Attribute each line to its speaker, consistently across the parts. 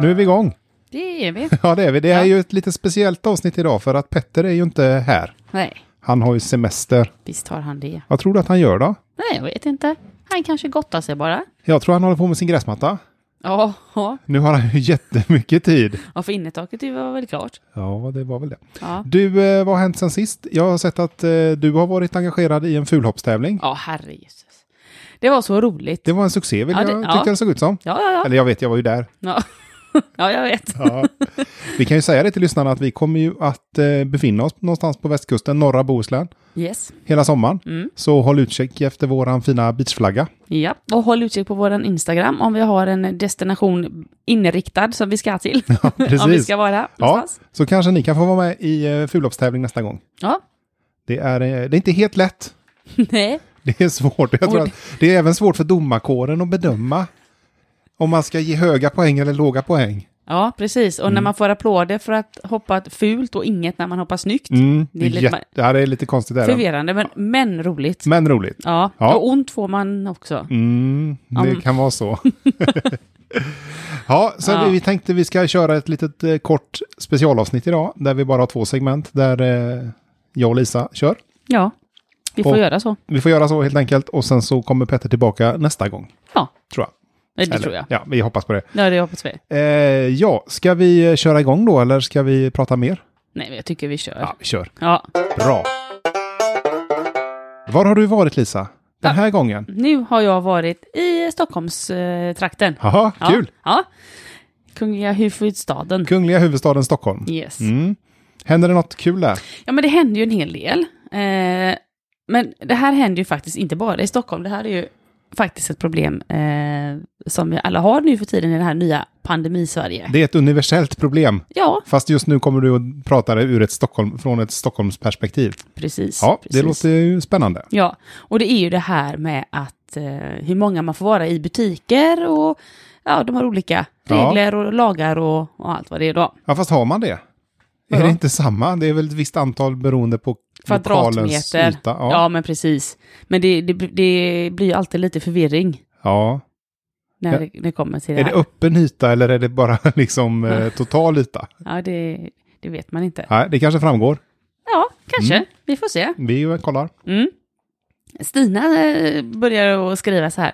Speaker 1: Nu är vi igång.
Speaker 2: Det är vi.
Speaker 1: Ja, det är vi. Det är ju ett lite speciellt avsnitt idag för att Petter är ju inte här.
Speaker 2: Nej,
Speaker 1: Han har ju semester.
Speaker 2: visst har han det.
Speaker 1: Vad tror du att han gör då?
Speaker 2: Nej, jag vet inte. Han kanske gottar sig bara.
Speaker 1: Jag tror han håller på med sin gräsmatta.
Speaker 2: Ja, ja.
Speaker 1: Nu har han ju jättemycket tid.
Speaker 2: ja för innertaket det var väl klart.
Speaker 1: Ja, det var väl det.
Speaker 2: Ja,
Speaker 1: Du, eh, vad har hänt sen sist? Jag har sett att eh, du har varit engagerad i en fulhoppstävling.
Speaker 2: ja herrejösses. Det var så roligt.
Speaker 1: Det var en succé, vill
Speaker 2: Ja, det-
Speaker 1: jag,
Speaker 2: ja.
Speaker 1: tyckte jag det såg ut som.
Speaker 2: Ja, ja, ja.
Speaker 1: Eller jag vet, jag var ju där.
Speaker 2: Ja, ja jag vet.
Speaker 1: Ja. Vi kan ju säga det till lyssnarna att vi kommer ju att eh, befinna oss någonstans på västkusten, norra Bohuslän,
Speaker 2: Yes.
Speaker 1: hela sommaren.
Speaker 2: Mm.
Speaker 1: Så håll utkik efter våran fina beachflagga.
Speaker 2: Ja, och håll utkik på vår Instagram om vi har en destination inriktad som vi ska till. om vi
Speaker 1: Precis.
Speaker 2: ska vara
Speaker 1: Ja,
Speaker 2: någonstans.
Speaker 1: så kanske ni kan få vara med i eh, fulhoppstävling nästa gång.
Speaker 2: Ja.
Speaker 1: Det är, eh, det är inte helt lätt.
Speaker 2: Nej.
Speaker 1: Det är svårt. Jag tror
Speaker 2: Och-
Speaker 1: att det är även svårt för domarkåren att bedöma om man ska ge höga poäng eller låga poäng.
Speaker 2: Ja, precis. Och när man får applåder för att hoppa fult och inget när man hoppar snyggt.
Speaker 1: Mm,
Speaker 2: Det är lite-
Speaker 1: jätte- ja, det är lite konstigt. Där.
Speaker 2: Förvirrande, men, men roligt.
Speaker 1: Men roligt.
Speaker 2: Mm. Ja,
Speaker 1: Ja.
Speaker 2: och ont får man också.
Speaker 1: Mm,
Speaker 2: Om-
Speaker 1: det kan vara så. ja, så
Speaker 2: Ja.
Speaker 1: Vi, vi tänkte vi ska köra ett litet eh, kort specialavsnitt idag där vi bara har två segment där eh, jag och Lisa kör.
Speaker 2: Ja, vi får
Speaker 1: Och-
Speaker 2: göra så.
Speaker 1: Vi får göra så helt enkelt och sen så kommer Petter tillbaka nästa gång.
Speaker 2: Ja.
Speaker 1: Tror jag.
Speaker 2: Nej, Det
Speaker 1: Eller,
Speaker 2: tror jag.
Speaker 1: Ja, vi hoppas på det.
Speaker 2: Ja, det hoppas vi.
Speaker 1: Eh, ja, ska vi eh, köra igång då eller ska vi prata mer?
Speaker 2: Nej, men jag tycker vi kör. Ja.
Speaker 1: Ja, vi kör.
Speaker 2: ja.
Speaker 1: Bra. Var har du varit Lisa? Den här gången?
Speaker 2: Nu har jag varit i Stockholmstrakten.
Speaker 1: Haha,
Speaker 2: Ja.
Speaker 1: kul!
Speaker 2: Ja. Kungliga huvudstaden.
Speaker 1: Kungliga huvudstaden Stockholm.
Speaker 2: Yes.
Speaker 1: Mm. Händer det något kul där?
Speaker 2: Ja, men det händer ju en hel del. Eh, men det här händer ju faktiskt inte bara i Stockholm. Det här är ju faktiskt ett problem eh, som vi alla har nu för tiden i det här nya pandemisverige.
Speaker 1: Det är ett universellt problem.
Speaker 2: Ja,
Speaker 1: Fast just nu kommer du att prata det ur ett Stockholm, från ett Stockholmsperspektiv.
Speaker 2: precis.
Speaker 1: Ja,
Speaker 2: precis.
Speaker 1: det låter ju spännande.
Speaker 2: Ja, och det är ju det här med att eh, hur många man får vara i butiker och ja, de har olika
Speaker 1: Ja.
Speaker 2: regler och lagar och, och allt vad det är då.
Speaker 1: Ja, fast har man det? Är
Speaker 2: Vadå?
Speaker 1: det inte samma? Det är väl ett visst antal beroende på lokalens
Speaker 2: Kvadratmeter.
Speaker 1: yta? Ja.
Speaker 2: Ja,
Speaker 1: Ja.
Speaker 2: men precis. Men det, det, det blir ju alltid lite förvirring när
Speaker 1: Ja.
Speaker 2: det, när det kommer till det
Speaker 1: Är det
Speaker 2: här.
Speaker 1: öppen yta eller är det bara liksom eh, total yta?
Speaker 2: ja, det, det vet man inte.
Speaker 1: Nej, det kanske framgår.
Speaker 2: Ja, kanske.
Speaker 1: Mm.
Speaker 2: Vi får se.
Speaker 1: Vi kollar.
Speaker 2: Mm. Stina eh, börjar att skriva så här.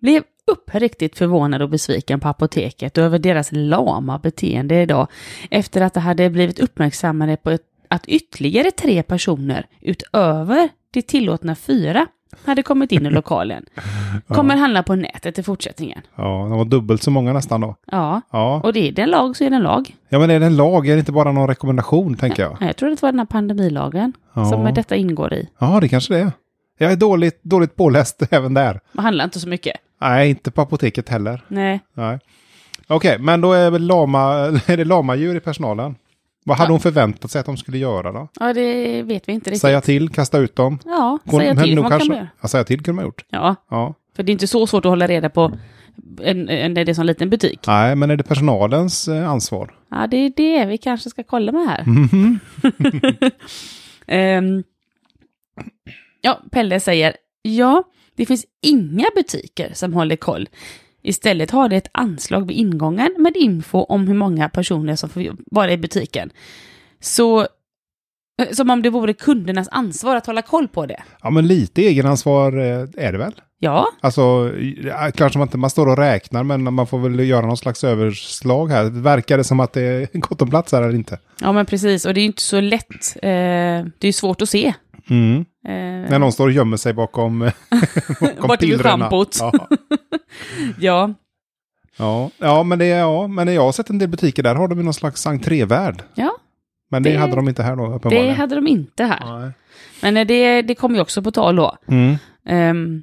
Speaker 2: Blev uppriktigt förvånad och besviken på apoteket över deras lama beteende idag efter att det hade blivit uppmärksammade på ett, att ytterligare tre personer utöver det tillåtna fyra hade kommit in i lokalen. Kommer handla på nätet i fortsättningen.
Speaker 1: Ja, de var dubbelt så många nästan då.
Speaker 2: Ja,
Speaker 1: Ja.
Speaker 2: och det är det en lag så är det en lag.
Speaker 1: ja, men är det en lag? Är det inte bara någon rekommendation, tänker jag?
Speaker 2: Jag tror det var den här pandemilagen
Speaker 1: Ja.
Speaker 2: som detta ingår i.
Speaker 1: Ja, det kanske det är. Jag är dåligt, dåligt påläst även där.
Speaker 2: Man handlar inte så mycket.
Speaker 1: Nej, inte på apoteket heller.
Speaker 2: Nej.
Speaker 1: Nej. Okej, men då är, väl lama, är det lamadjur i personalen? Vad hade hon förväntat sig att de skulle göra då?
Speaker 2: Ja, det vet vi inte riktigt.
Speaker 1: Säga till, kasta ut dem?
Speaker 2: Ja,
Speaker 1: Hon-
Speaker 2: säga
Speaker 1: men
Speaker 2: till
Speaker 1: nog
Speaker 2: vad man
Speaker 1: kanske-
Speaker 2: kan göra.
Speaker 1: Ja, säga till kunde man gjort.
Speaker 2: Ja,
Speaker 1: Ja.
Speaker 2: för det är inte så svårt att hålla reda på en, en, det är en sån liten butik.
Speaker 1: Nej, men är det personalens eh, ansvar?
Speaker 2: Ja, det är det vi kanske ska kolla med här.
Speaker 1: Mm-hmm.
Speaker 2: Ehm, ja, Pelle säger, ja, det finns inga butiker som håller koll. Istället har det ett anslag vid ingången med info om hur många personer som får vara i butiken. Så, eh, som om det vore kundernas ansvar att hålla koll på det.
Speaker 1: Ja, men lite egenansvar eh, är det väl?
Speaker 2: Ja,
Speaker 1: Alltså, ja, klart som att man står och räknar, men man får väl göra någon slags överslag här. Verkar det som att det är gott om plats här eller inte?
Speaker 2: Ja, men precis. Och det är ju inte så lätt. Eh, det är ju svårt att se.
Speaker 1: Mm.
Speaker 2: Eh,
Speaker 1: När någon står och gömmer sig bakom, bakom
Speaker 2: Vart är
Speaker 1: pillrorna.
Speaker 2: schampot?
Speaker 1: Ja.
Speaker 2: ja,
Speaker 1: Ja, ja, men det, ja, men jag har sett en del butiker där har de ju någon slags entrévärd.
Speaker 2: Ja,
Speaker 1: Men det,
Speaker 2: det-
Speaker 1: hade de inte här då
Speaker 2: det
Speaker 1: uppenbarligen.
Speaker 2: hade de inte här.
Speaker 1: Nej.
Speaker 2: Men eh, det, det kom ju också på tal då.
Speaker 1: Mm.
Speaker 2: Ehm,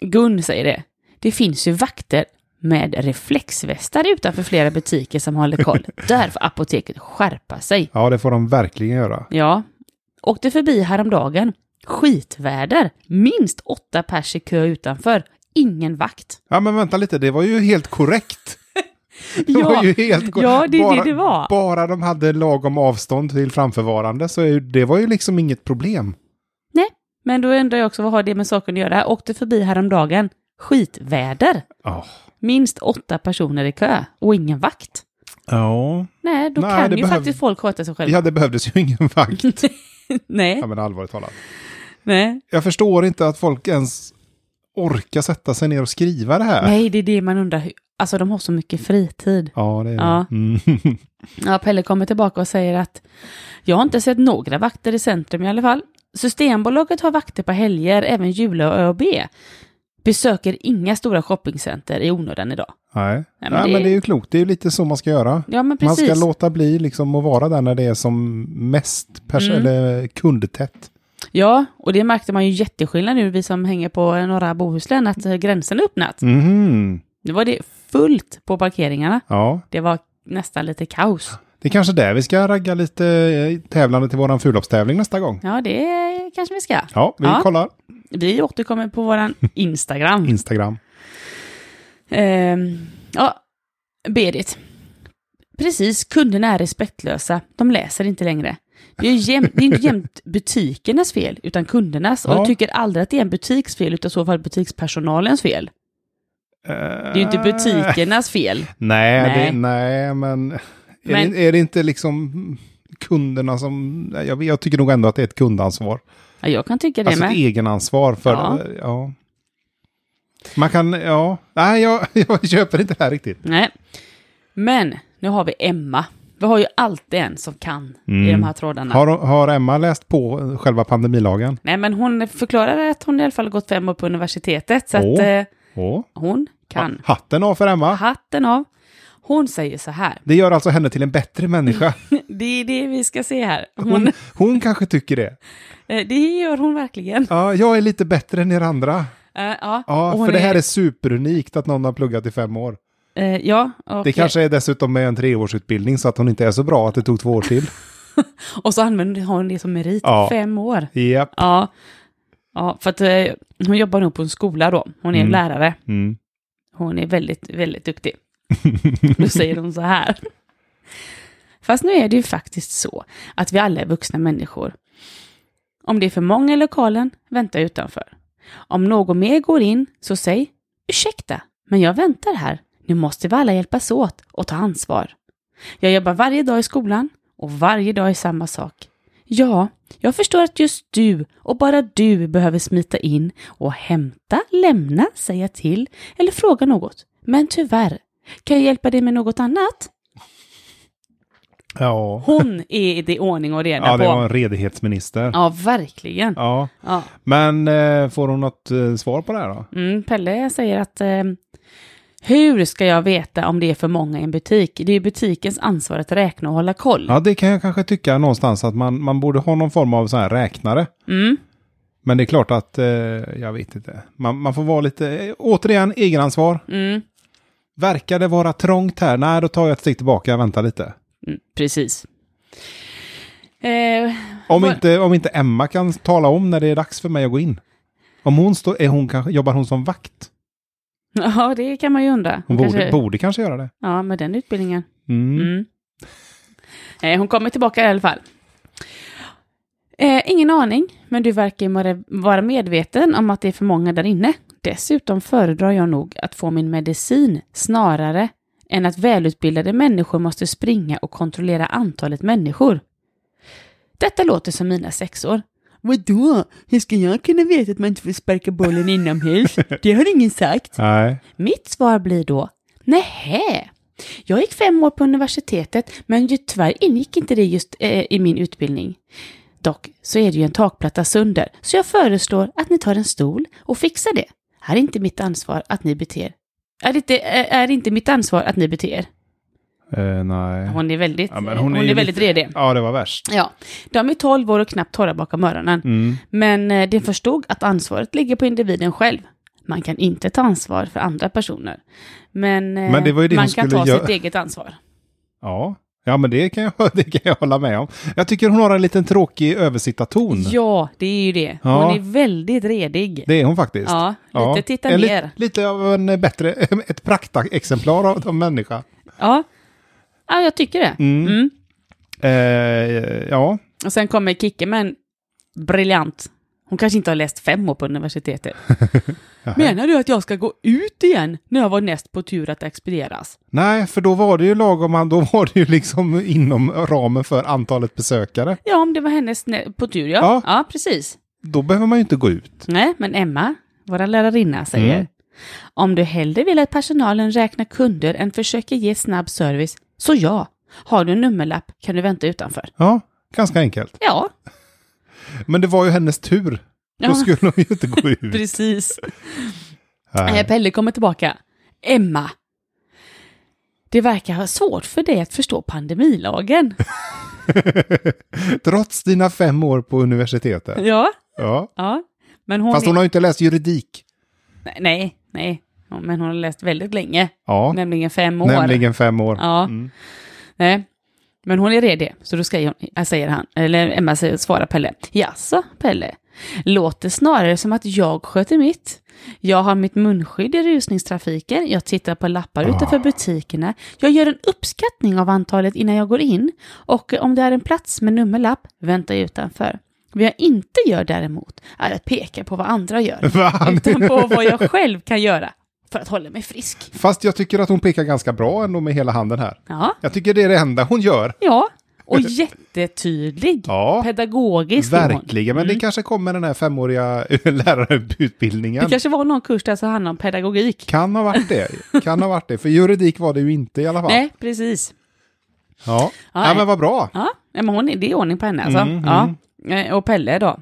Speaker 2: Gun säger det. Det finns ju vakter med reflexvästar utanför flera butiker som håller koll. Där får apoteket skärpa sig.
Speaker 1: Ja, det får de verkligen göra.
Speaker 2: Ja. Åkte förbi häromdagen. Skitväder. Minst åtta pers i kö utanför. Ingen vakt.
Speaker 1: Ja, men vänta lite, det var ju helt korrekt. Det var
Speaker 2: Ja,
Speaker 1: ju helt korrekt.
Speaker 2: ja, det är det det var.
Speaker 1: Bara de hade lagom avstånd till framförvarande så är ju- det var ju liksom inget problem.
Speaker 2: Men då undrar jag också, vad har det med saken att göra? Åkte förbi häromdagen. Skitväder.
Speaker 1: Ja,
Speaker 2: Minst åtta personer i kö och ingen vakt.
Speaker 1: Ja.
Speaker 2: Nej, då
Speaker 1: Nej,
Speaker 2: kan
Speaker 1: det
Speaker 2: ju
Speaker 1: behöv-
Speaker 2: faktiskt folk sköta sig själva.
Speaker 1: ja, det behövdes ju ingen vakt.
Speaker 2: nej,
Speaker 1: Ja, men allvarligt talat.
Speaker 2: nej.
Speaker 1: Jag förstår inte att folk ens orkar sätta sig ner och skriva det här.
Speaker 2: nej, det är det man undrar. hur- Alltså de har så mycket fritid.
Speaker 1: Ja, det är
Speaker 2: Ja.
Speaker 1: det. Mm.
Speaker 2: Ja, Pelle kommer tillbaka och säger att jag har inte sett några vakter i centrum i alla fall. Systembolaget har vakter på helger, även Jula och ÖoB. Besöker inga stora shoppingcenter i onödan idag.
Speaker 1: Nej.
Speaker 2: men
Speaker 1: Nej, men,
Speaker 2: det-
Speaker 1: det... är ju klokt. Det är ju lite så man ska göra.
Speaker 2: Ja, men
Speaker 1: Man
Speaker 2: precis.
Speaker 1: ska låta bli liksom att vara där när det är som mest pers-
Speaker 2: Mm.
Speaker 1: eller kundtätt.
Speaker 2: Ja, och det märkte man ju jätteskillnad nu, vi som hänger på norra Bohuslän, att eh, gränsen är öppnat.
Speaker 1: Mhm.
Speaker 2: Nu var det fullt på parkeringarna.
Speaker 1: Ja,
Speaker 2: Det var nästan lite kaos.
Speaker 1: det är kanske där vi ska ragga lite eh, tävlande till våran fulloppstävling nästa gång.
Speaker 2: Ja, det kanske vi ska.
Speaker 1: Ja, vi
Speaker 2: Ja.
Speaker 1: kollar.
Speaker 2: Vi återkommer på våran Instagram.
Speaker 1: Instagram.
Speaker 2: Ehm, ja, Berit. Precis, kunderna är respektlösa. De läser inte längre. Det är, ju jäm, det är inte jämt butikernas fel, utan kundernas. Och
Speaker 1: Ja.
Speaker 2: jag tycker aldrig att det är en butiks fel, utan i så fall butikspersonalens fel. Det är ju
Speaker 1: Äh.
Speaker 2: inte butikernas fel.
Speaker 1: Eh, Nej, nej.
Speaker 2: Nej.
Speaker 1: Det, nej men, är,
Speaker 2: Men-
Speaker 1: Det, är det inte liksom kunderna som... nej, Jag, jag tycker nog ändå att det är ett kundansvar.
Speaker 2: Ja, jag kan tycka det
Speaker 1: Alltså ett
Speaker 2: med.
Speaker 1: egenansvar för... eh,
Speaker 2: Ja.
Speaker 1: Ja. Man kan, ja. Nej, jag, jag köper inte det här riktigt.
Speaker 2: Nej. Men nu har vi Emma. Vi har ju alltid en som kan i
Speaker 1: Mm.
Speaker 2: de här trådarna.
Speaker 1: Har, har Emma läst på själva pandemilagen?
Speaker 2: Nej, men hon förklarade att hon i alla fall gått fem år på universitetet, så att
Speaker 1: Åh.
Speaker 2: eh,
Speaker 1: Åh.
Speaker 2: hon kan.
Speaker 1: Ha- Hatten av för Emma.
Speaker 2: Hatten av. Hon säger så här.
Speaker 1: Det gör alltså henne till en bättre människa.
Speaker 2: Det är det vi ska se här. Hon,
Speaker 1: Hon, hon kanske tycker det.
Speaker 2: eh, det gör hon verkligen.
Speaker 1: Ja, jag är lite bättre än er andra.
Speaker 2: Eh, ja,
Speaker 1: Ja,
Speaker 2: Och hon
Speaker 1: för det här är superunikt att någon har pluggat i fem år.
Speaker 2: eh, ja, och,
Speaker 1: Det kanske är dessutom med en treårsutbildning så att hon inte är så bra att det tog två år till.
Speaker 2: och så använder hon det som merit.
Speaker 1: Ja.
Speaker 2: Fem år.
Speaker 1: Japp.
Speaker 2: Ja. ja, för att eh, hon jobbar nog på en skola då. Hon är
Speaker 1: Mm.
Speaker 2: lärare.
Speaker 1: Mm.
Speaker 2: Hon är väldigt, väldigt duktig. Då säger hon så här. Fast nu är det ju faktiskt så att vi alla är vuxna människor. Om det är för många i lokalen, vänta utanför. Om någon mer går in, så säg ursäkta, men jag väntar här. Nu måste vi alla hjälpas åt och ta ansvar. Jag jobbar varje dag i skolan och varje dag är samma sak. Ja, jag förstår att just du och bara du behöver smita in och hämta, lämna, säga till eller fråga något. Men tyvärr, kan jag hjälpa dig med något annat?
Speaker 1: Ja.
Speaker 2: Hon är det ordning och reda
Speaker 1: ja,
Speaker 2: på.
Speaker 1: det var en redighetsminister.
Speaker 2: Ja, verkligen. Ja.
Speaker 1: Ja, men eh, får hon något eh, svar på det här då?
Speaker 2: Mm, Pelle säger att eh, hur ska jag veta om det är för många i en butik? Det är ju butikens ansvar att räkna och hålla koll.
Speaker 1: Ja, det kan jag kanske tycka någonstans att man, man borde ha någon form av sån här räknare.
Speaker 2: Mm.
Speaker 1: Men det är klart att, eh, jag vet inte, man, man får vara lite, eh, återigen, egenansvar.
Speaker 2: Mm.
Speaker 1: Verkar det vara trångt här? Nej, då tar jag ett steg tillbaka, vänta lite.
Speaker 2: Mm, precis. Eh,
Speaker 1: Om
Speaker 2: Var-
Speaker 1: inte, om inte Emma kan tala om när det är dags för mig att gå in. Om hon står, är hon kanske, jobbar hon som vakt?
Speaker 2: ja, det kan man ju undra.
Speaker 1: Hon
Speaker 2: Hon kanske,
Speaker 1: Borde, borde kanske göra det.
Speaker 2: ja, med den utbildningen.
Speaker 1: Mm.
Speaker 2: Mm. Eh, hon kommer tillbaka i alla fall. Eh, ingen aning, men du verkar ju vara- vara medveten om att det är för många där inne. Dessutom föredrar jag nog att få min medicin snarare än att välutbildade människor måste springa och kontrollera antalet människor. Detta låter som mina sexår. Vadå? Hur ska jag kunna veta att man inte får sparka bollen inomhus? Det har ingen sagt.
Speaker 1: Nej.
Speaker 2: Mitt svar blir då, nähä. Jag gick fem år på universitetet, men ju tyvärr ingick inte det just eh, i min utbildning. Dock så är det ju en takplatta sönder, så jag föreslår att ni tar en stol och fixar det. Här är inte mitt ansvar att ni beter är det, inte, eh, är det inte mitt ansvar att ni beter
Speaker 1: Eh, nej.
Speaker 2: Hon är väldigt,
Speaker 1: Ja, men
Speaker 2: hon
Speaker 1: hon är
Speaker 2: är
Speaker 1: ju
Speaker 2: väldigt redig.
Speaker 1: Ja, det var värst.
Speaker 2: Ja, de är 12 år och knappt torra bakom öronen.
Speaker 1: Mm.
Speaker 2: Men eh, det förstod att ansvaret ligger på individen själv. Man kan inte ta ansvar för andra personer. Men, eh,
Speaker 1: Men det var ju det
Speaker 2: man
Speaker 1: hon
Speaker 2: kan
Speaker 1: skulle
Speaker 2: ta
Speaker 1: göra.
Speaker 2: sitt eget ansvar.
Speaker 1: Ja. Ja, men det kan, jag, det kan jag hålla med om. Jag tycker hon har en liten tråkig översittarton.
Speaker 2: Ja, det är ju det. Hon
Speaker 1: Ja.
Speaker 2: är väldigt redig.
Speaker 1: Det är hon faktiskt.
Speaker 2: Ja, lite
Speaker 1: Ja.
Speaker 2: titta
Speaker 1: En li-
Speaker 2: ner.
Speaker 1: lite av en eh, bättre, ett praktexemplar av en människa.
Speaker 2: Ja. ja, jag tycker det.
Speaker 1: Mm.
Speaker 2: Mm.
Speaker 1: Eh, ja,
Speaker 2: Och sen kommer Kicke med en briljant Hon kanske inte har läst fem år på universitetet. Menar du att jag ska gå ut igen när jag var näst på tur att expedieras?
Speaker 1: Nej, för då var det ju lagom, då var det ju liksom inom ramen för antalet besökare.
Speaker 2: Ja, om det var hennes nä- på tur, ja.
Speaker 1: Ja.
Speaker 2: ja. precis.
Speaker 1: Då behöver man ju inte gå ut.
Speaker 2: Nej, men Emma, vår lärarinna, säger
Speaker 1: Mm.
Speaker 2: om du hellre vill att personalen räknar kunder än försöker ge snabb service, så ja. Har du en nummerlapp kan du vänta utanför.
Speaker 1: Ja, ganska enkelt.
Speaker 2: Ja,
Speaker 1: Men det var ju hennes tur. Då
Speaker 2: Ja.
Speaker 1: skulle hon ju inte gå ut.
Speaker 2: precis.
Speaker 1: Nej.
Speaker 2: Eh, Pelle kommer tillbaka. Emma. Det verkar ha svårt för dig att förstå pandemilagen.
Speaker 1: Trots dina fem år på universitetet.
Speaker 2: ja,
Speaker 1: Ja.
Speaker 2: ja. Men hon,
Speaker 1: Fast hon har ju inte läst juridik.
Speaker 2: Nej, Nej, nej. Ja, Men hon har läst väldigt länge.
Speaker 1: Ja,
Speaker 2: Nämligen fem år.
Speaker 1: nämligen fem år.
Speaker 2: Ja.
Speaker 1: Mm.
Speaker 2: Nej. Men hon är redig, så då ska hon, äh, säger han, eller Emma säger, svarar Pelle. Jaså, Pelle? Låter snarare som att jag sköter mitt. Jag har mitt munskydd i rusningstrafiken, jag tittar på lappar utanför butikerna, jag gör en uppskattning av antalet innan jag går in och om det är en plats med nummerlapp, väntar jag utanför. Vad jag inte gör däremot är att peka på vad andra gör,
Speaker 1: Va?
Speaker 2: utan på vad jag själv kan göra för att hålla mig frisk.
Speaker 1: Fast jag tycker att hon pekar ganska bra ändå med hela handen här.
Speaker 2: Ja,
Speaker 1: Jag tycker det är det enda hon gör.
Speaker 2: ja. och jättetydlig.
Speaker 1: Ja,
Speaker 2: Pedagogisk är hon. Mm.
Speaker 1: verkligen. Men det kanske kommer den här femåriga lärarutbildningen.
Speaker 2: Det kanske var någon kurs där som handlade om pedagogik.
Speaker 1: Kan ha varit det. Kan ha varit det. För juridik var det ju inte i alla fall.
Speaker 2: Nej, precis.
Speaker 1: Ja.
Speaker 2: Ja,
Speaker 1: ja, men vad bra.
Speaker 2: Ja, nej, men hon är, det är ordning på henne alltså.
Speaker 1: Mm,
Speaker 2: ja. Eh, Och Pelle då.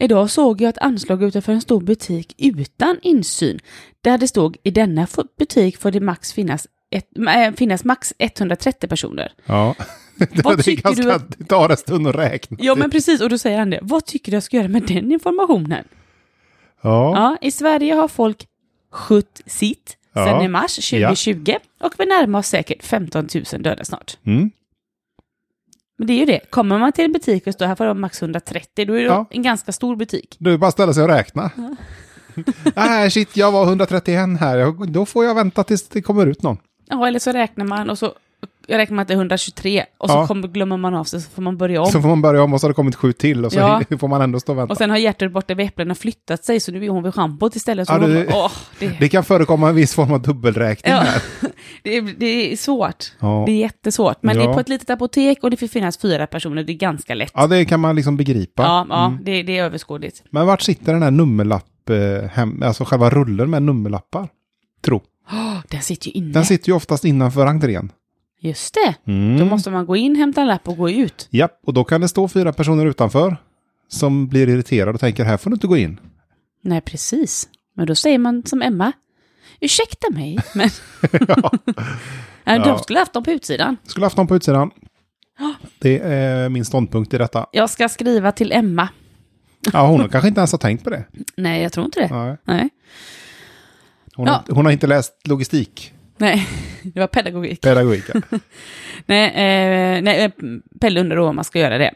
Speaker 2: Idag såg jag ett anslag utanför en stor butik utan insyn. Där det stod i denna f- butik får det max finnas, ett, äh, finnas max 130 personer.
Speaker 1: Ja. Det,
Speaker 2: Vad
Speaker 1: det är
Speaker 2: tycker du
Speaker 1: ganska-
Speaker 2: att-
Speaker 1: Det tar en stund att räkna.
Speaker 2: Ja men precis, och då säger han det. Vad tycker du jag ska göra med den informationen?
Speaker 1: Ja.
Speaker 2: Ja, i Sverige har folk skjutt sitt
Speaker 1: Ja.
Speaker 2: sedan i mars 2020 och vi närmar oss säkert 15 000 döda snart.
Speaker 1: Mm.
Speaker 2: Men det är ju det. Kommer man till en butik och står här får de max 130, då är det
Speaker 1: Ja.
Speaker 2: en ganska stor butik.
Speaker 1: Du, bara ställa sig och räkna. Nej, shit, jag var 131 här. Jag- Då får jag vänta tills det kommer ut någon.
Speaker 2: Ja, eller så räknar man och så räknar man till 123 och
Speaker 1: Ja.
Speaker 2: så kommer, glömmer man av sig så får man börja om.
Speaker 1: Så får man börja om och så har det kommit sju till och så
Speaker 2: Ja.
Speaker 1: får man ändå stå och vänta.
Speaker 2: Och sen har hjärtat borta vid äpplena flyttat sig så nu är hon vid schampot istället. Så
Speaker 1: Ja,
Speaker 2: hon
Speaker 1: det-
Speaker 2: bara, åh, det,
Speaker 1: Det kan förekomma en viss form av dubbelräkning
Speaker 2: ja.
Speaker 1: här.
Speaker 2: det, är- det är svårt.
Speaker 1: Ja.
Speaker 2: Det är jättesvårt. Men det är
Speaker 1: Ja.
Speaker 2: på ett litet apotek och det får finnas fyra personer, det är ganska lätt.
Speaker 1: ja, det kan man liksom begripa.
Speaker 2: Ja, ja
Speaker 1: Mm.
Speaker 2: det, det är överskådligt.
Speaker 1: Men vart sitter den här nummerlapp, eh, hem, alltså själva rullen med nummerlappar? Tro.
Speaker 2: Åh, den sitter ju inne.
Speaker 1: Den sitter ju oftast innanför entrén.
Speaker 2: Just det.
Speaker 1: Mm.
Speaker 2: Då måste man gå in, hämta en lapp och gå ut.
Speaker 1: Japp, och då kan det stå fyra personer utanför som blir irriterade och tänker här får du inte gå in.
Speaker 2: Nej, precis. Men då säger man som Emma. Ursäkta mig, men... ja. De skulle haft dem på utsidan.
Speaker 1: Skulle haft någon på utsidan. Det är min ståndpunkt i detta.
Speaker 2: Jag ska skriva till Emma.
Speaker 1: Ja, hon kanske inte ens har tänkt på det.
Speaker 2: Nej, jag tror inte det.
Speaker 1: Nej.
Speaker 2: Nej.
Speaker 1: Hon, har,
Speaker 2: Ja.
Speaker 1: inte- hon har inte läst logistik,
Speaker 2: Nej, det var pedagogik.
Speaker 1: pedagogik.
Speaker 2: Nej, eh, nej eh, Pelle undrar då vad man ska göra det.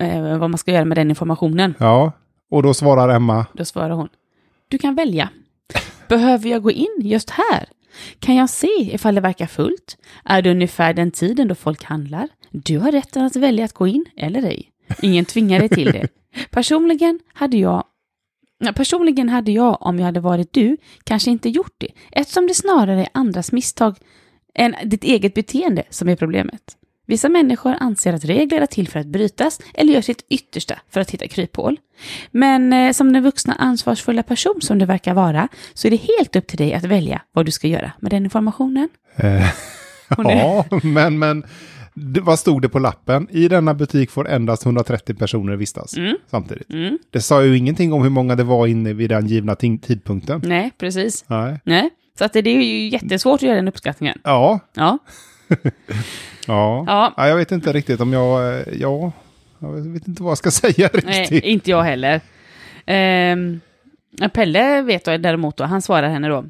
Speaker 2: Eh, vad man ska göra med den informationen.
Speaker 1: Ja, och då svarar Emma.
Speaker 2: Då svarar hon. Du kan välja. Behöver jag gå in just här? Kan jag se ifall det verkar fullt? Är det ungefär den tiden då folk handlar? Du har rätten att välja att gå in eller ej. Ingen tvingar dig till det. Personligen hade jag Ja, Personligen hade jag, om jag hade varit du, kanske inte gjort det, eftersom det snarare är andras misstag än ditt eget beteende som är problemet. Vissa människor anser att regler är till för att brytas eller gör sitt yttersta för att hitta kryphål. Men eh, som den vuxna ansvarsfulla person som du verkar vara så är det helt upp till dig att välja vad du ska göra med den informationen.
Speaker 1: Eh,
Speaker 2: Hon är-
Speaker 1: ja, men, men det, vad stod det på lappen? I denna butik får endast 130 personer vistas
Speaker 2: Mm.
Speaker 1: samtidigt. Det sa ju ingenting om hur många det var inne vid den givna ting- tidpunkten.
Speaker 2: Nej, precis.
Speaker 1: Nej.
Speaker 2: Nej. Så att det, det är ju jättesvårt att göra den uppskattningen.
Speaker 1: Ja,
Speaker 2: Ja,
Speaker 1: ja.
Speaker 2: Ja.
Speaker 1: jag vet inte riktigt om jag... eh, Ja, jag vet inte vad jag ska säga riktigt.
Speaker 2: nej, inte jag heller. Ehm, Pelle vet jag däremot då, han svarar henne då.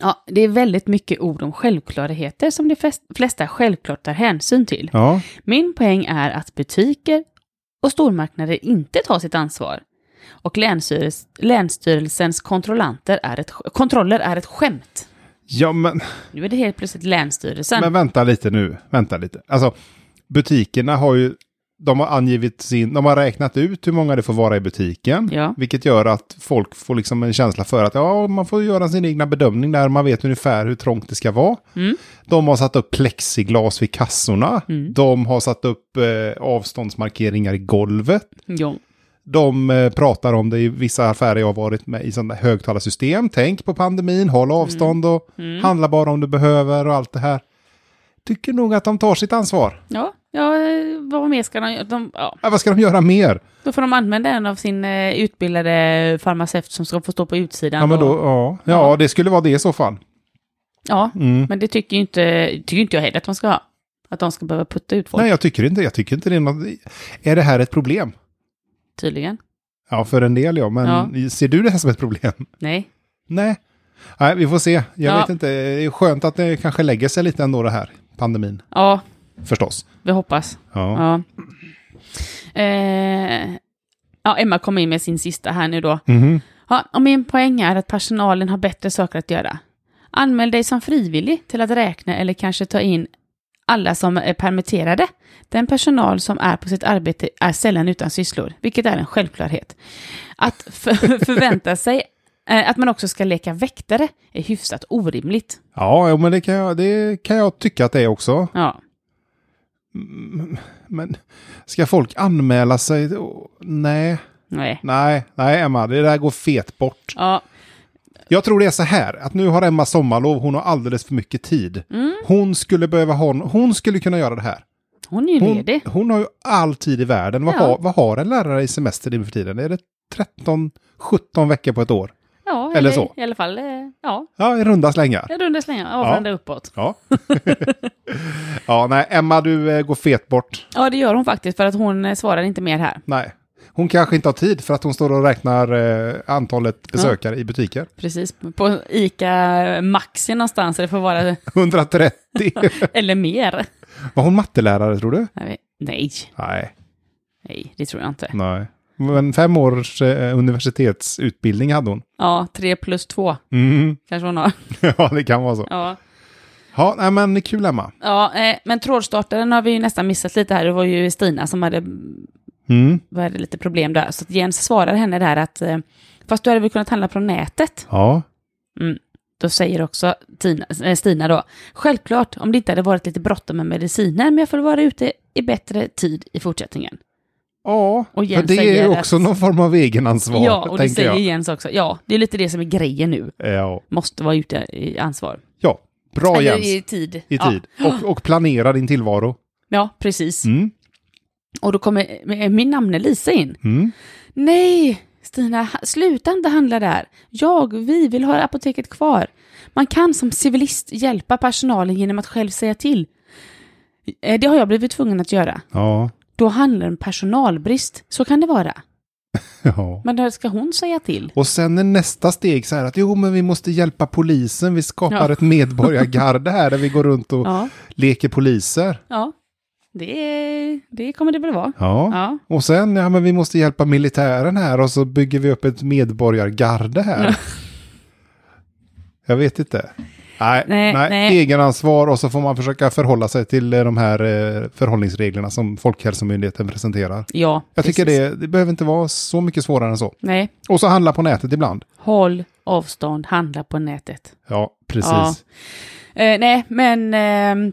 Speaker 2: Ja, det är väldigt mycket ord om självklarheter som de flest- flesta självklart tar hänsyn till.
Speaker 1: Ja,
Speaker 2: Min poäng är att butiker och stormarknader inte tar sitt ansvar. Och länsstyrels- länsstyrelsens kontrollanter är ett, sk- kontroller är ett skämt.
Speaker 1: ja men,
Speaker 2: Nu är det helt plötsligt länsstyrelsen.
Speaker 1: men vänta lite nu. Vänta lite. Alltså, butikerna har ju... de har angivit sin, de har räknat ut hur många det får vara i butiken.
Speaker 2: Ja.
Speaker 1: Vilket gör att folk får liksom en känsla för att ja, man får göra sin egna bedömning där. Man vet ungefär hur trångt det ska vara. De har satt upp plexiglas vid kassorna. De har satt upp eh, avståndsmarkeringar i golvet.
Speaker 2: Ja.
Speaker 1: De eh, pratar om det i vissa affärer jag har varit med i sådana högtalarsystem. Tänk på pandemin, håll avstånd och handla bara om du behöver och allt det här. Tycker nog att de tar sitt ansvar.
Speaker 2: Ja, ja, eh, vad mer ska de göra? De, ja.
Speaker 1: Ja, vad ska de göra mer?
Speaker 2: Då får de använda en av sin eh, utbildade farmaceut som ska få stå på utsidan.
Speaker 1: Ja, men då,
Speaker 2: och,
Speaker 1: ja. ja, det skulle vara det i så fall.
Speaker 2: ja
Speaker 1: Mm.
Speaker 2: men det tycker ju inte, tycker inte jag heller att de ska ha. Att de ska behöva putta ut folk,
Speaker 1: Nej, jag tycker inte, jag tycker inte det är något... Är det här ett problem?
Speaker 2: tydligen.
Speaker 1: Ja, för en del ja, men ser du det här som ett problem?
Speaker 2: Nej.
Speaker 1: Nej. Nej, vi får se. Jag
Speaker 2: Ja.
Speaker 1: vet inte, det är skönt att det kanske lägger sig lite ändå det här, pandemin,
Speaker 2: Ja,
Speaker 1: förstås.
Speaker 2: vi hoppas.
Speaker 1: Ja.
Speaker 2: Ja. Eh, ja, Emma kom in med sin sista här nu då.
Speaker 1: Mhm.
Speaker 2: Ja, och min poäng är att personalen har bättre saker att göra. Anmäl dig som frivillig till att räkna eller kanske ta in alla som är permitterade. Den personal som är på sitt arbete är sällan utan sysslor, vilket är en självklarhet. Att för, förvänta sig eh, att man också ska leka väktare är hyfsat orimligt.
Speaker 1: Ja, jo, men det kan, jag, det kan jag tycka att det är också.
Speaker 2: Ja,
Speaker 1: Men ska folk anmäla sig? Åh, Nej,
Speaker 2: nej.
Speaker 1: nej, nej Emma, det där går fet bort.
Speaker 2: Ja,
Speaker 1: Jag tror det är så här, att nu har Emma sommarlov, hon har alldeles för mycket tid.
Speaker 2: Mm.
Speaker 1: Hon skulle behöva ha, hon skulle kunna göra det här.
Speaker 2: hon är ju
Speaker 1: Hon,
Speaker 2: ledig.
Speaker 1: hon har ju all tid i världen. Vad,
Speaker 2: Ja.
Speaker 1: har, vad har en lärare i semester nu för tiden? Är det 13, 17 veckor på ett år?
Speaker 2: Ja,
Speaker 1: eller så.
Speaker 2: I alla fall, eh, ja,
Speaker 1: Ja, i runda slängar.
Speaker 2: jag runda slängar, avrunda uppåt.
Speaker 1: Ja. ja, nej, Emma, du eh, går fet bort.
Speaker 2: Ja, det gör hon faktiskt, för att hon eh, svarar inte mer här.
Speaker 1: Nej. Hon kanske inte har tid för att hon står och räknar eh, antalet besökare i butiker.
Speaker 2: Precis, på ICA eh, Maxi någonstans, det får vara,
Speaker 1: 130.
Speaker 2: eller mer.
Speaker 1: Var hon mattelärare, tror du?
Speaker 2: Nej, Nej,
Speaker 1: Nej.
Speaker 2: nej, det tror jag inte.
Speaker 1: nej. Men fem års eh, universitetsutbildning hade hon.
Speaker 2: Ja, tre plus två
Speaker 1: Mm.
Speaker 2: kanske hon har.
Speaker 1: ja, det kan vara så.
Speaker 2: Ja,
Speaker 1: Ja, nej, men kul, Emma.
Speaker 2: ja eh, men trådstartaren har vi ju nästan missat lite här. Det var ju Stina som hade,
Speaker 1: Mm.
Speaker 2: hade lite problem där. Så att Jens svarar henne där att, eh, fast du hade väl kunnat handla på nätet?
Speaker 1: Ja.
Speaker 2: Då säger också Tina, eh, Stina då, självklart om det inte hade varit lite bråttom med mediciner, men jag får vara ute i bättre tid i fortsättningen.
Speaker 1: Ja,
Speaker 2: Och
Speaker 1: för
Speaker 2: Jens
Speaker 1: det är ju
Speaker 2: säger att-
Speaker 1: också någon form av egenansvar,
Speaker 2: ja, och det
Speaker 1: tänker
Speaker 2: säger
Speaker 1: jag.
Speaker 2: Jens också. Ja, det är lite det som är grejen nu.
Speaker 1: Ja.
Speaker 2: Måste vara ute i ansvar.
Speaker 1: ja, bra
Speaker 2: Eller
Speaker 1: Jens.
Speaker 2: i
Speaker 1: I,
Speaker 2: tid.
Speaker 1: tid. Och, och planera din tillvaro.
Speaker 2: Ja, ja precis.
Speaker 1: Mm.
Speaker 2: Och då kommer eh, min namne Lisa in.
Speaker 1: Mm.
Speaker 2: Nej, Stina, ha- sluta inte handla där. Jag, vi vill ha apoteket kvar. Man kan som civilist hjälpa personalen genom att själv säga till. Eh, Det har jag blivit tvungen att göra.
Speaker 1: Ja.
Speaker 2: Då handlar det om personalbrist. Så kan det vara.
Speaker 1: ja.
Speaker 2: Men då ska hon säga till?
Speaker 1: Och sen är nästa steg så här att jo, men vi måste hjälpa polisen. Vi skapar
Speaker 2: Ja.
Speaker 1: ett medborgargarde här där vi går runt och
Speaker 2: Ja,
Speaker 1: leker poliser.
Speaker 2: ja. Det, det kommer det väl vara.
Speaker 1: Ja.
Speaker 2: Ja.
Speaker 1: Och sen, ja men vi måste hjälpa militären här och så bygger vi upp ett medborgargarde här. Jag vet inte. Nej, nej,
Speaker 2: Nej, nej.
Speaker 1: egenansvar och så får man försöka förhålla sig till eh, de här eh, förhållningsreglerna som Folkhälsomyndigheten presenterar.
Speaker 2: Ja,
Speaker 1: Jag tycker
Speaker 2: precis.
Speaker 1: det, det behöver inte vara så mycket svårare än så.
Speaker 2: Nej,
Speaker 1: Och så handla på nätet ibland.
Speaker 2: håll avstånd, handla på nätet.
Speaker 1: Ja, precis.
Speaker 2: Ja. Eh, nej, men ehm,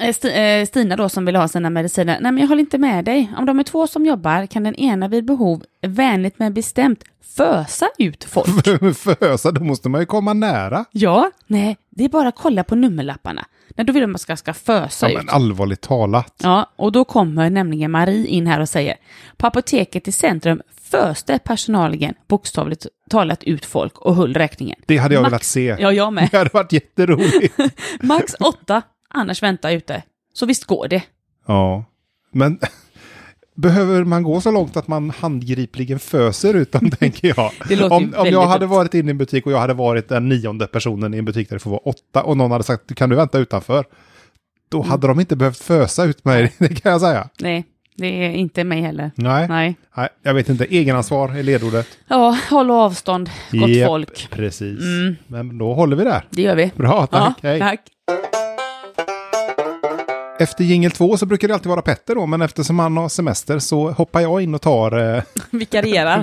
Speaker 2: eh, Sti- eh, Stina då som vill ha sina mediciner. Nej, men jag håller inte med dig. Om de är två som jobbar kan den ena vid behov vänligt men bestämt fösa ut folk.
Speaker 1: Fösa, då måste man ju komma nära.
Speaker 2: ja, nej, det är bara att kolla på nummerlapparna. Nej, då vill de att man ska, ska fösa
Speaker 1: Ja,
Speaker 2: ut.
Speaker 1: men allvarligt talat.
Speaker 2: Ja, och då kommer nämligen Marie in här och säger på apoteket i centrum föste personalen bokstavligt talat ut folk och höll räkningen.
Speaker 1: Det hade jag
Speaker 2: Max-
Speaker 1: velat se.
Speaker 2: Ja, jag med.
Speaker 1: Det hade varit jätteroligt.
Speaker 2: Max åtta, annars vänta ute. Så visst går det.
Speaker 1: ja, men behöver man gå så långt att man handgripligen föser ut dem, tänker jag.
Speaker 2: Det låter
Speaker 1: om,
Speaker 2: ju
Speaker 1: om
Speaker 2: väldigt
Speaker 1: jag hade
Speaker 2: dumt.
Speaker 1: varit inne i en butik och jag hade varit den nionde personen i en butik där det får vara åtta och någon hade sagt kan du vänta utanför? Då
Speaker 2: Mm.
Speaker 1: hade de inte behövt fösa ut mig, det kan jag säga.
Speaker 2: Nej, det är inte mig heller.
Speaker 1: Nej, nej.
Speaker 2: Nej.
Speaker 1: jag vet inte. Egenansvar är ledordet.
Speaker 2: Ja, håll avstånd, gott
Speaker 1: Japp,
Speaker 2: folk.
Speaker 1: Precis. Men då håller vi där.
Speaker 2: Mm. Det gör vi.
Speaker 1: Bra, tack.
Speaker 2: Ja,
Speaker 1: Hej.
Speaker 2: tack.
Speaker 1: Efter jingel två så brukar det alltid vara Petter då, men eftersom han har semester så hoppar jag in och tar eh,
Speaker 2: Vikarierar.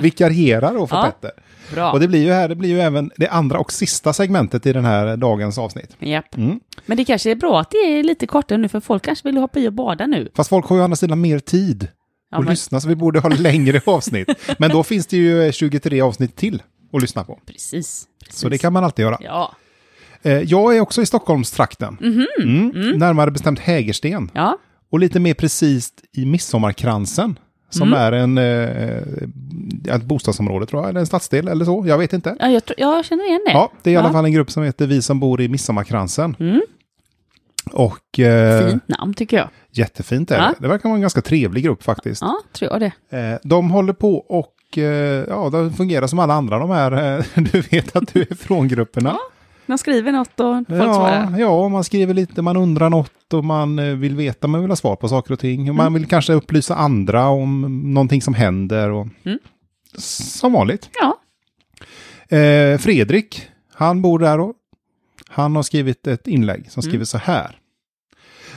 Speaker 1: vikarierar då för
Speaker 2: Ja.
Speaker 1: Petter.
Speaker 2: Bra.
Speaker 1: Och det blir ju här, det blir ju även det andra och sista segmentet i den här dagens avsnitt.
Speaker 2: Japp.
Speaker 1: Mm.
Speaker 2: Men det kanske är bra att det är lite kortare nu, för folk kanske vill hoppa i och bada nu.
Speaker 1: Fast folk har ju å andra sidan mer tid
Speaker 2: Ja,
Speaker 1: att
Speaker 2: men-
Speaker 1: lyssna, så vi borde ha längre avsnitt. Men då finns det ju eh, 23 avsnitt till att lyssna på.
Speaker 2: Precis. precis.
Speaker 1: Så det kan man alltid göra.
Speaker 2: Ja.
Speaker 1: Eh, Jag är också i Stockholmstrakten.
Speaker 2: Mhm.
Speaker 1: Mm. Närmare bestämt Hägersten.
Speaker 2: Ja.
Speaker 1: Och lite mer precis i Midsommarkransen. Som
Speaker 2: Mm.
Speaker 1: är en, eh, ett bostadsområde tror jag, eller en stadsdel eller så. Jag vet inte.
Speaker 2: Ja, jag, tror, jag känner igen det.
Speaker 1: Ja, det är i alla
Speaker 2: Ja.
Speaker 1: fall en grupp som heter Vi som bor i Midsommarkransen.
Speaker 2: Mm.
Speaker 1: Och eh,
Speaker 2: Fint namn tycker jag.
Speaker 1: jättefint är det.
Speaker 2: Ja.
Speaker 1: Det verkar vara en ganska trevlig grupp faktiskt.
Speaker 2: Ja, tror jag det.
Speaker 1: Eh, de håller på och eh, ja, de fungerar som alla andra de här, eh, du vet att du är från grupperna.
Speaker 2: De skriver något och folk svarar.
Speaker 1: Ja, ja, man skriver lite, man undrar något och man eh, vill veta, man vill ha svar på saker och ting. Och man
Speaker 2: Mm.
Speaker 1: vill kanske upplysa andra om någonting som händer. Och...
Speaker 2: Mm.
Speaker 1: Som vanligt.
Speaker 2: Ja.
Speaker 1: Eh, Fredrik, han bor där och han har skrivit ett inlägg som skriver
Speaker 2: Mm.
Speaker 1: så här.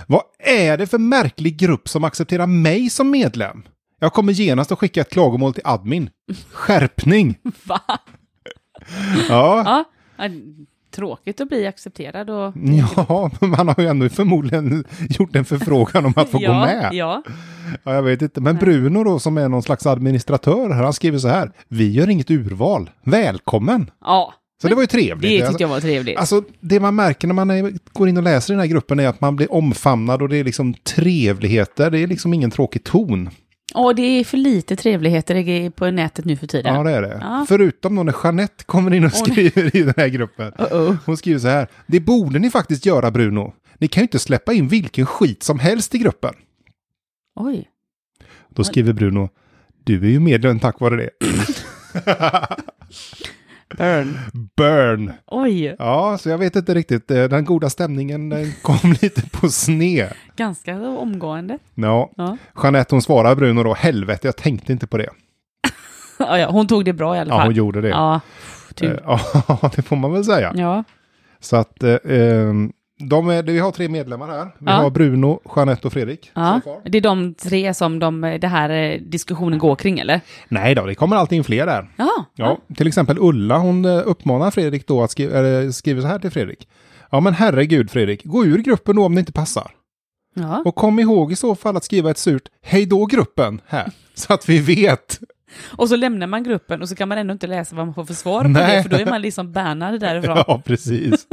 Speaker 1: Vad är det för märklig grupp som accepterar mig som medlem? Jag kommer genast att skicka ett klagomål till admin. Skärpning!
Speaker 2: Va?
Speaker 1: Ja,
Speaker 2: Ja. ja. Tråkigt att bli accepterad och...
Speaker 1: ja men man har ju ändå förmodligen gjort en förfrågan om att få
Speaker 2: ja,
Speaker 1: gå med.
Speaker 2: Ja.
Speaker 1: Ja, jag vet inte. Men Bruno då, som är någon slags administratör, här, han skriver så här. Vi gör inget urval. Välkommen!
Speaker 2: ja.
Speaker 1: Så det var ju trevligt.
Speaker 2: Det tyckte jag var trevligt.
Speaker 1: Alltså det man märker när man är, går in och läser i den här gruppen är att man blir omfamnad och det är liksom trevligheter. Det är liksom ingen tråkig ton.
Speaker 2: Ja, det är för lite trevligheter i- på nätet nu för tiden.
Speaker 1: Ja, det är det.
Speaker 2: Ja.
Speaker 1: Förutom då när Jeanette kommer in och
Speaker 2: Åh, nej.
Speaker 1: skriver i den här gruppen.
Speaker 2: Uh-oh.
Speaker 1: Hon skriver så här. Det borde ni faktiskt göra Bruno. Ni kan ju inte släppa in vilken skit som helst i gruppen.
Speaker 2: Oj.
Speaker 1: Då skriver Bruno. Du är ju medlem tack vare det.
Speaker 2: Burn.
Speaker 1: Burn!
Speaker 2: Oj.
Speaker 1: Ja, så jag vet inte riktigt. Eh, Den goda stämningen eh, kom lite på sned.
Speaker 2: Ganska omgående.
Speaker 1: Ja.
Speaker 2: Ja.
Speaker 1: Jeanette hon svarar Bruno då, helvete jag tänkte inte på det.
Speaker 2: Ja, ja, hon tog det bra i alla fall.
Speaker 1: Ja, hon gjorde det.
Speaker 2: Ja,
Speaker 1: Eh,
Speaker 2: tur.
Speaker 1: Ja, det får man väl säga.
Speaker 2: Ja,
Speaker 1: Så att eh, eh, de är, vi har tre medlemmar här. Vi
Speaker 2: Ja.
Speaker 1: har Bruno, Jeanette och Fredrik.
Speaker 2: ja.
Speaker 1: Så far.
Speaker 2: Det är de tre som de, det här eh, diskussionen går kring, eller?
Speaker 1: Nej då, det kommer alltid in fler där.
Speaker 2: Ja.
Speaker 1: Ja, till exempel Ulla, hon eh, uppmanar Fredrik då att skriva, eller skriver så här till Fredrik. Ja men herregud Fredrik, gå ur gruppen då om det inte passar.
Speaker 2: ja.
Speaker 1: Och kom ihåg i så fall att skriva ett surt hej då gruppen här. Så att vi vet.
Speaker 2: Och så lämnar man gruppen och så kan man ändå inte läsa vad man får för svar på
Speaker 1: Nej.
Speaker 2: det, för då är man liksom bannad därifrån.
Speaker 1: Ja, precis.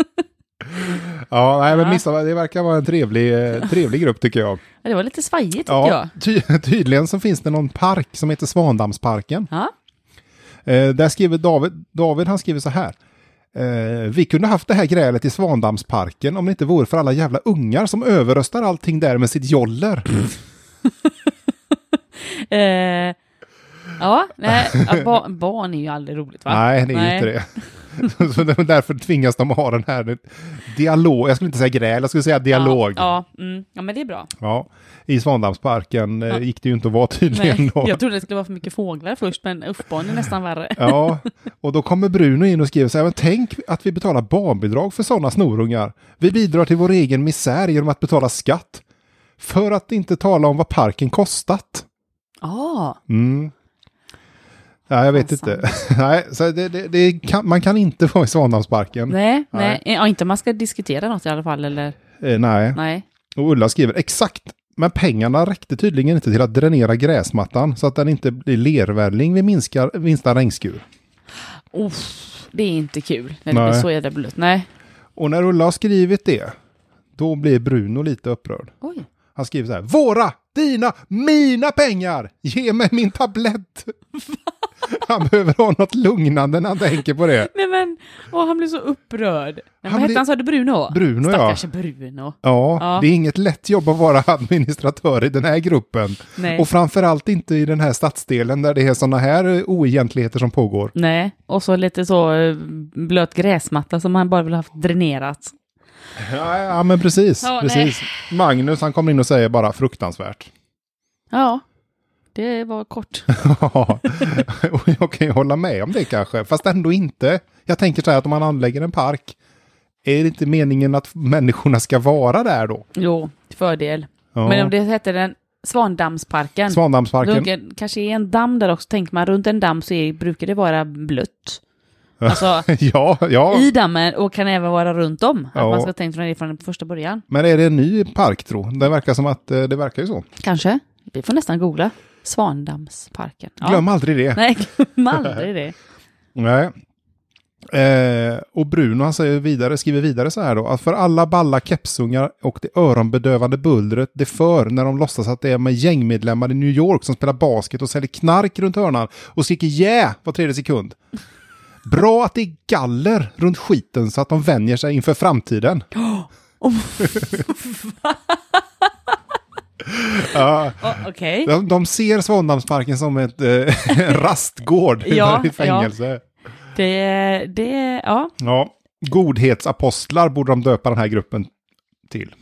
Speaker 1: Ja, nej, men
Speaker 2: Ja.
Speaker 1: missa, det verkar vara en trevlig, eh, trevlig grupp tycker jag.
Speaker 2: Ja, Det var lite svajigt, tycker jag.
Speaker 1: Ja, ty tydligen så finns det någon park som heter Svandamsparken.
Speaker 2: Ja.
Speaker 1: Eh, där skriver David, David han skriver så här. Eh, vi kunde haft det här grälet i Svandamsparken om det inte vore för alla jävla ungar som överröstar allting där med sitt joller.
Speaker 2: Eh, ja, nej, ja, ba- barn är ju aldrig roligt, va?
Speaker 1: Nej, det är
Speaker 2: Nej.
Speaker 1: ju inte det. så det är därför tvingas de ha den här dialog. Jag skulle inte säga gräl, jag skulle säga dialog.
Speaker 2: Ja, ja, mm, ja men det är bra.
Speaker 1: Ja, i Svandamsparken eh,
Speaker 2: Ja.
Speaker 1: gick det ju inte att vara tydligen
Speaker 2: Nej,
Speaker 1: då.
Speaker 2: jag trodde det skulle vara för mycket fåglar först, men usch, barn är nästan värre.
Speaker 1: Ja, och då kommer Bruno in och skriver så här, men tänk att vi betalar barnbidrag för sådana snorungar. Vi bidrar till vår egen misär genom att betala skatt. För att inte tala om vad parken kostat.
Speaker 2: Ja,
Speaker 1: Mm. Ja, jag vet
Speaker 2: Fasen.
Speaker 1: inte. Nej, så det, det, det kan, man kan inte vara i Svanhamnsparken. Nej.
Speaker 2: nej,
Speaker 1: Mm. Nej.
Speaker 2: nej. Ja, inte om man ska diskutera något i alla fall, eller?
Speaker 1: Eh, nej.
Speaker 2: Nej.
Speaker 1: Och Ulla skriver, exakt. Men pengarna räckte tydligen inte till att dränera gräsmattan så att den inte blir lervälling vid minskar, minsta regnskur.
Speaker 2: Uff, det är inte kul när det
Speaker 1: Nej.
Speaker 2: blir så jävla blött. Nej.
Speaker 1: Och när Ulla har skrivit det, då blir Bruno lite upprörd.
Speaker 2: Oj.
Speaker 1: Han skriver så här. Våra, dina, mina pengar! Ge mig min tablett! han behöver ha något lugnande när han tänker på det.
Speaker 2: Nej men, åh, han blev så upprörd. Men vad
Speaker 1: blir-
Speaker 2: hette han, sa du Bruno?
Speaker 1: Bruno, ja.
Speaker 2: Stackars Bruno.
Speaker 1: Ja,
Speaker 2: Ja.
Speaker 1: det är inget lätt jobb att vara administratör i den här gruppen.
Speaker 2: Nej.
Speaker 1: Och framförallt inte i den här stadsdelen där det är sådana här eh, oegentligheter som pågår.
Speaker 2: Nej, och så lite så eh, blöt gräsmatta som han bara vill ha haft dränerat.
Speaker 1: Ja, ja men precis.
Speaker 2: Ja,
Speaker 1: precis. Magnus han kommer in och säger bara fruktansvärt.
Speaker 2: Ja, det var kort.
Speaker 1: Ja, och jag kan ju hålla med om det kanske, fast ändå inte. Jag tänker så här att om man anlägger en park, är det inte meningen att människorna ska vara där då?
Speaker 2: Jo, fördel.
Speaker 1: Ja.
Speaker 2: Men om det heter den Svandammsparken,
Speaker 1: Svandammsparken.
Speaker 2: då kanske är en damm där också. Tänker man runt en damm så är, brukar det vara blött. Alltså
Speaker 1: ja, ja.
Speaker 2: i dammen och kan även vara runt om. Att
Speaker 1: Ja.
Speaker 2: man ska tänka det från första början.
Speaker 1: Men är det en ny park tro? Det verkar som att eh, det verkar ju så.
Speaker 2: Kanske. Vi får nästan googla. Svandammsparken. Ja.
Speaker 1: Glöm aldrig det.
Speaker 2: Nej, glöm aldrig det.
Speaker 1: Nej. Eh, och Bruno han säger vidare, skriver vidare så här då, att för alla balla kepsungar och det öronbedövande bullret det för när de låtsas att det är med gängmedlemmar i New York som spelar basket och säljer knark runt hörnan och skriker yeah var tredje sekund. Bra att det är galler runt skiten så att de vänjer sig inför framtiden.
Speaker 2: oh,
Speaker 1: ja,
Speaker 2: Oh, Okej.
Speaker 1: de, de ser Svandammsparken som ett eh, en rastgård
Speaker 2: Ja,
Speaker 1: i fängelse.
Speaker 2: Det, det, ja.
Speaker 1: Ja, godhetsapostlar borde de döpa den här gruppen till.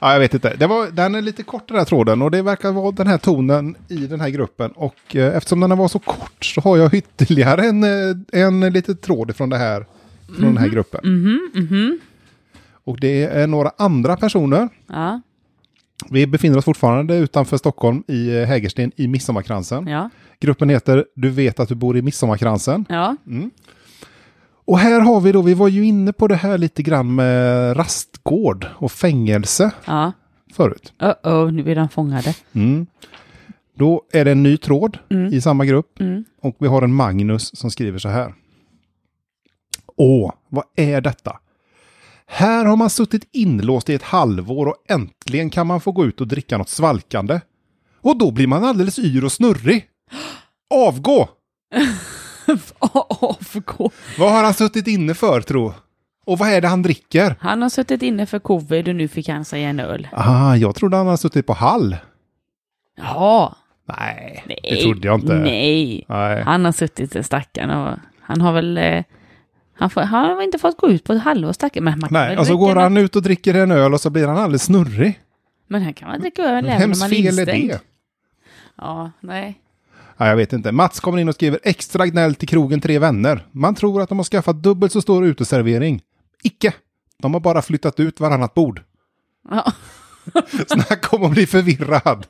Speaker 1: ja, jag vet inte. Det var, den är lite kort den här tråden och det verkar vara den här tonen i den här gruppen. Och eh, eftersom den var så kort så har jag ytterligare en, eh, en liten tråd från, det här, från den här gruppen. Och det är några andra personer.
Speaker 2: Ja,
Speaker 1: Vi befinner oss fortfarande utanför Stockholm i eh, Hägersten i Midsommarkransen.
Speaker 2: ja,
Speaker 1: Gruppen heter Du vet att du bor i Midsommarkransen.
Speaker 2: ja.
Speaker 1: Och här har vi då, vi var ju inne på det här lite grann med rastgård och fängelse
Speaker 2: ja.
Speaker 1: förut.
Speaker 2: Uh-oh, nu är de fångade.
Speaker 1: Då är det en ny tråd i samma grupp. Och vi har en Magnus som skriver så här. Åh, vad är detta? Här har man suttit inlåst i ett halvår och äntligen kan man få gå ut och dricka något svalkande. Och då blir man alldeles yr och snurrig. Avgå!
Speaker 2: AFK.
Speaker 1: Vad har han suttit inne för tro? Och vad är det han dricker?
Speaker 2: Han har suttit inne för covid och nu fick han sig en öl.
Speaker 1: Ah, jag trodde han hade suttit på hall.
Speaker 2: Jaha.
Speaker 1: Nej,
Speaker 2: Nej.
Speaker 1: det trodde jag inte.
Speaker 2: Nej.
Speaker 1: Nej.
Speaker 2: Han har suttit i stackaren och han har väl... eh, Han, får, han har väl inte fått gå ut på ett halvår stackaren. Men man kan
Speaker 1: Nej,
Speaker 2: väl
Speaker 1: och så
Speaker 2: dricka
Speaker 1: går
Speaker 2: något-
Speaker 1: han ut och dricker en öl och så blir han alldeles snurrig.
Speaker 2: Men han kan väl dricka öl även om
Speaker 1: Vems
Speaker 2: man är
Speaker 1: fel är
Speaker 2: instängd?
Speaker 1: det?
Speaker 2: Ja, nej.
Speaker 1: Nej, jag vet inte. Mats kommer in och skriver extra gnäll till krogen Tre Vänner. Man tror att de har skaffat dubbelt så stor uteservering. Icke! De har bara flyttat ut varannat bord.
Speaker 2: Ja.
Speaker 1: Snacka om att bli förvirrad.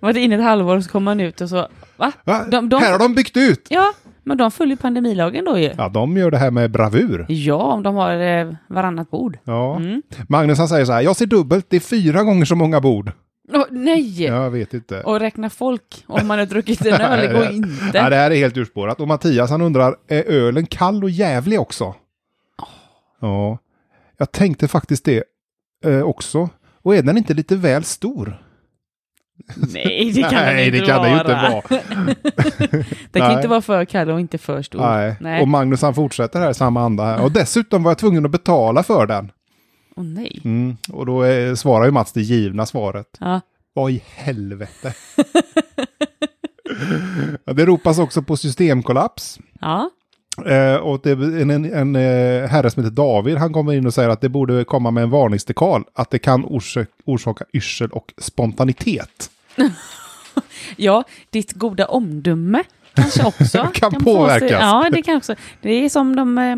Speaker 2: Var det inne ett halvår och så kommer man ut och så... Va?
Speaker 1: Va?
Speaker 2: De- de-
Speaker 1: Här har de byggt ut!
Speaker 2: Ja, men de följer pandemilagen då ju.
Speaker 1: Ja, de gör det här med bravur.
Speaker 2: Ja, Mm. om de har eh, varannat bord.
Speaker 1: Ja. Magnus han säger så här, jag ser dubbelt, det är fyra gånger så många bord.
Speaker 2: Åh, nej!
Speaker 1: Ja, jag vet inte.
Speaker 2: Och räkna folk om man har druckit en öl, det går inte.
Speaker 1: Ja, det här är helt urspårat. Och Mattias han undrar, är ölen kall och jävlig också? Ja, jag tänkte faktiskt det eh, också. Och är den inte lite väl stor?
Speaker 2: Nej, det kan
Speaker 1: Nej,
Speaker 2: den inte
Speaker 1: det kan
Speaker 2: vara.
Speaker 1: den ju inte vara.
Speaker 2: Den kan
Speaker 1: Nej.
Speaker 2: inte vara för kall och inte för stor.
Speaker 1: Nej.
Speaker 2: Nej.
Speaker 1: Och Magnus han fortsätter här i samma anda. Här. Och dessutom var jag tvungen att betala för den.
Speaker 2: Åh, nej.
Speaker 1: Mm. Och då eh, svarar ju Mats det givna svaret.
Speaker 2: Ja.
Speaker 1: Vad i helvete? Ja, det ropas också på systemkollaps.
Speaker 2: ja.
Speaker 1: Eh, och det är en, en, en eh, herre som heter David, han kommer in och säger att det borde komma med en varningsdekal, att det kan orsak, orsaka yrsel och spontanitet.
Speaker 2: Ja, ditt goda omdöme kanske också
Speaker 1: Kan
Speaker 2: få
Speaker 1: påverkas.
Speaker 2: sig- ja, det kan också. Det är som de... eh,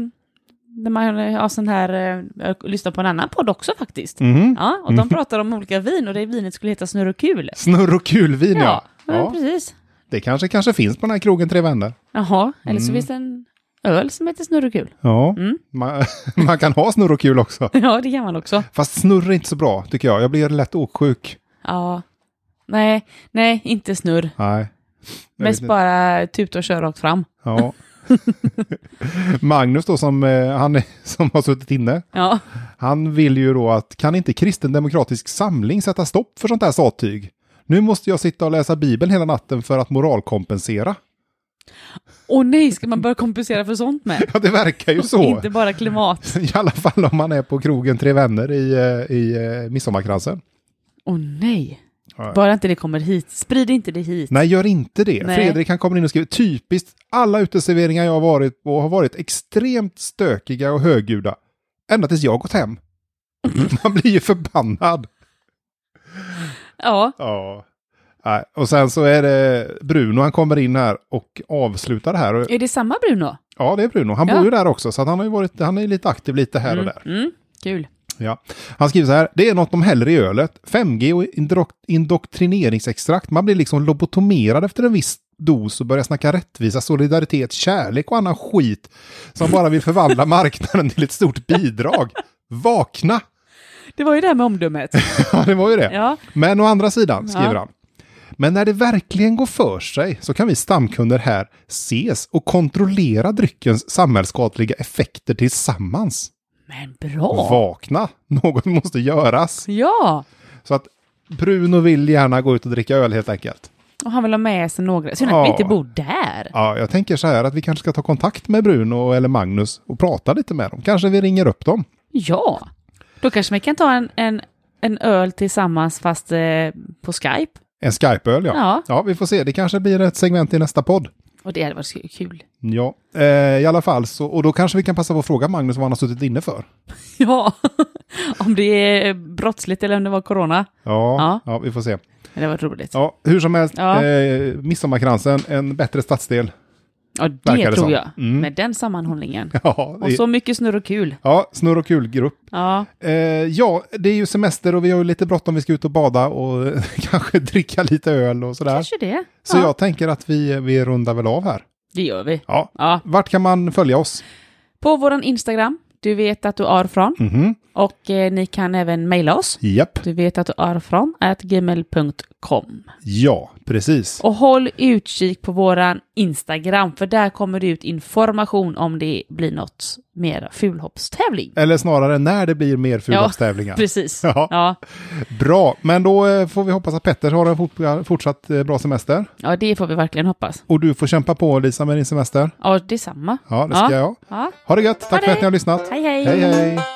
Speaker 2: När man eh, har sån här... eh, Jag lyssnar på en annan podd också faktiskt.
Speaker 1: Mhm.
Speaker 2: Ja, och de pratar om olika vin och det vinet skulle heta Snurr och kul.
Speaker 1: Snurr och kulvin, ja.
Speaker 2: ja,
Speaker 1: ja.
Speaker 2: precis.
Speaker 1: Det kanske, kanske finns på den här krogen Tre Vänner.
Speaker 2: Jaha, eller
Speaker 1: Mm.
Speaker 2: så finns det en öl som heter Snurr och kul.
Speaker 1: Ja,
Speaker 2: Mm.
Speaker 1: man, man kan ha snurr och kul också.
Speaker 2: Ja, det kan man också.
Speaker 1: Fast snurr är inte så bra, tycker jag. Jag blir lätt åksjuk.
Speaker 2: Ja. Nej, nej, inte snurr.
Speaker 1: Nej. Jag vet
Speaker 2: Mest
Speaker 1: inte.
Speaker 2: bara tuta och köra rakt fram.
Speaker 1: Ja. Magnus då, som, eh, han, är- som har suttit inne,
Speaker 2: Ja,
Speaker 1: Han vill ju då att kan inte kristen demokratisk samling sätta stopp för sånt här sattyg? Nu måste jag sitta och läsa Bibeln hela natten för att moralkompensera.
Speaker 2: Åh nej, ska man börja kompensera för sånt med?
Speaker 1: Ja, det verkar ju så.
Speaker 2: Inte bara klimat.
Speaker 1: I alla fall om man är på krogen Tre Vänner i, eh, i eh, Midsommarkransen.
Speaker 2: Åh nej.
Speaker 1: Ja.
Speaker 2: Bara inte det kommer hit. Sprid inte det hit.
Speaker 1: Nej, gör inte det.
Speaker 2: Nej.
Speaker 1: Fredrik han kommer in och skriver typiskt alla uteserveringar jag har varit på har varit extremt stökiga och högljudda. Ända tills jag gått hem. Man blir ju förbannad.
Speaker 2: Ja,
Speaker 1: Ja. Nej, Och sen så är det Bruno, han kommer in här och avslutar det här. Och-
Speaker 2: är det samma Bruno?
Speaker 1: Ja, det är Bruno. Han
Speaker 2: Ja.
Speaker 1: bor ju där också, så att han, har ju varit, han är lite aktiv lite här och där.
Speaker 2: Mm, kul.
Speaker 1: Ja. Han skriver så här, det är något de häller i ölet. 5G och indok indoktrineringsextrakt. Man blir liksom lobotomerad efter en viss dos och börjar snacka rättvisa, solidaritet, kärlek och annan skit som bara vill förvandla marknaden till ett stort bidrag. Vakna!
Speaker 2: Det var ju det här med omdömet.
Speaker 1: Ja, det var ju det.
Speaker 2: Ja.
Speaker 1: Men å andra sidan, skriver
Speaker 2: Ja.
Speaker 1: han. Men när det verkligen går för sig så kan vi stamkunder här ses och kontrollera dryckens samhällsskadliga effekter tillsammans.
Speaker 2: Men bra!
Speaker 1: Vakna! Något måste göras.
Speaker 2: Ja!
Speaker 1: Så att Bruno vill gärna gå ut och dricka öl helt enkelt.
Speaker 2: Och han vill ha med sig några. Synd att
Speaker 1: Ja.
Speaker 2: vi inte bor där.
Speaker 1: Ja, jag tänker så här att vi kanske ska ta kontakt med Bruno eller Magnus och prata lite med dem. Kanske vi ringer upp dem.
Speaker 2: Ja! Då kanske vi kan ta en, en, en öl tillsammans fast eh, på Skype.
Speaker 1: En Skype-öl, ja.
Speaker 2: Ja.
Speaker 1: vi får se. Det kanske blir ett segment i nästa podd.
Speaker 2: Och det hade varit sk- kul.
Speaker 1: Ja, eh, i alla fall så. Och då kanske vi kan passa på att fråga Magnus vad han har suttit inne för.
Speaker 2: Ja! om det är brottsligt eller om det var corona.
Speaker 1: Ja, ja.
Speaker 2: Ja.
Speaker 1: vi får se.
Speaker 2: Det hade varit roligt. Ja,
Speaker 1: Ja, hur som helst,
Speaker 2: Ja.
Speaker 1: eh, Midsommarkransen, en bättre stadsdel. verkar
Speaker 2: det
Speaker 1: det
Speaker 2: tror
Speaker 1: som. Mm.
Speaker 2: jag. Med den sammanhållningen.
Speaker 1: Ja,
Speaker 2: Och
Speaker 1: det,
Speaker 2: så mycket snurr och kul.
Speaker 1: ja snurr och kul-grupp.
Speaker 2: Ja,
Speaker 1: Eh, ja, det är ju semester och vi har ju lite bråttom. Vi ska ut och bada och kanske dricka lite öl och sådär.
Speaker 2: kanske det.
Speaker 1: Så
Speaker 2: ja,
Speaker 1: jag tänker att vi, vi rundar väl av här.
Speaker 2: Det gör vi.
Speaker 1: Ja.
Speaker 2: Ja.
Speaker 1: Vart kan man följa oss?
Speaker 2: På vår Instagram, du vet att du är från.
Speaker 1: Mhm.
Speaker 2: Och eh, ni kan även mejla oss.
Speaker 1: Japp.
Speaker 2: Du vet att du är från at gmail.com.
Speaker 1: Ja, precis.
Speaker 2: Och håll utkik på våran Instagram för där kommer det ut information om det blir något mer fulhoppstävling.
Speaker 1: Eller snarare när det blir mer fulhoppstävlingar.
Speaker 2: Precis.
Speaker 1: Ja.
Speaker 2: Ja. Ja.
Speaker 1: Bra, men då eh, får vi hoppas att Petter har en fort- fortsatt eh, bra semester.
Speaker 2: det får vi verkligen hoppas.
Speaker 1: Och du får kämpa på Lisa med din semester.
Speaker 2: Ja, detsamma.
Speaker 1: Ja, det ska
Speaker 2: Ja.
Speaker 1: jag.
Speaker 2: Ja.
Speaker 1: Ha det gött, tack för
Speaker 2: det.
Speaker 1: att ni har lyssnat.
Speaker 2: Hej, hej.
Speaker 1: hej. hej.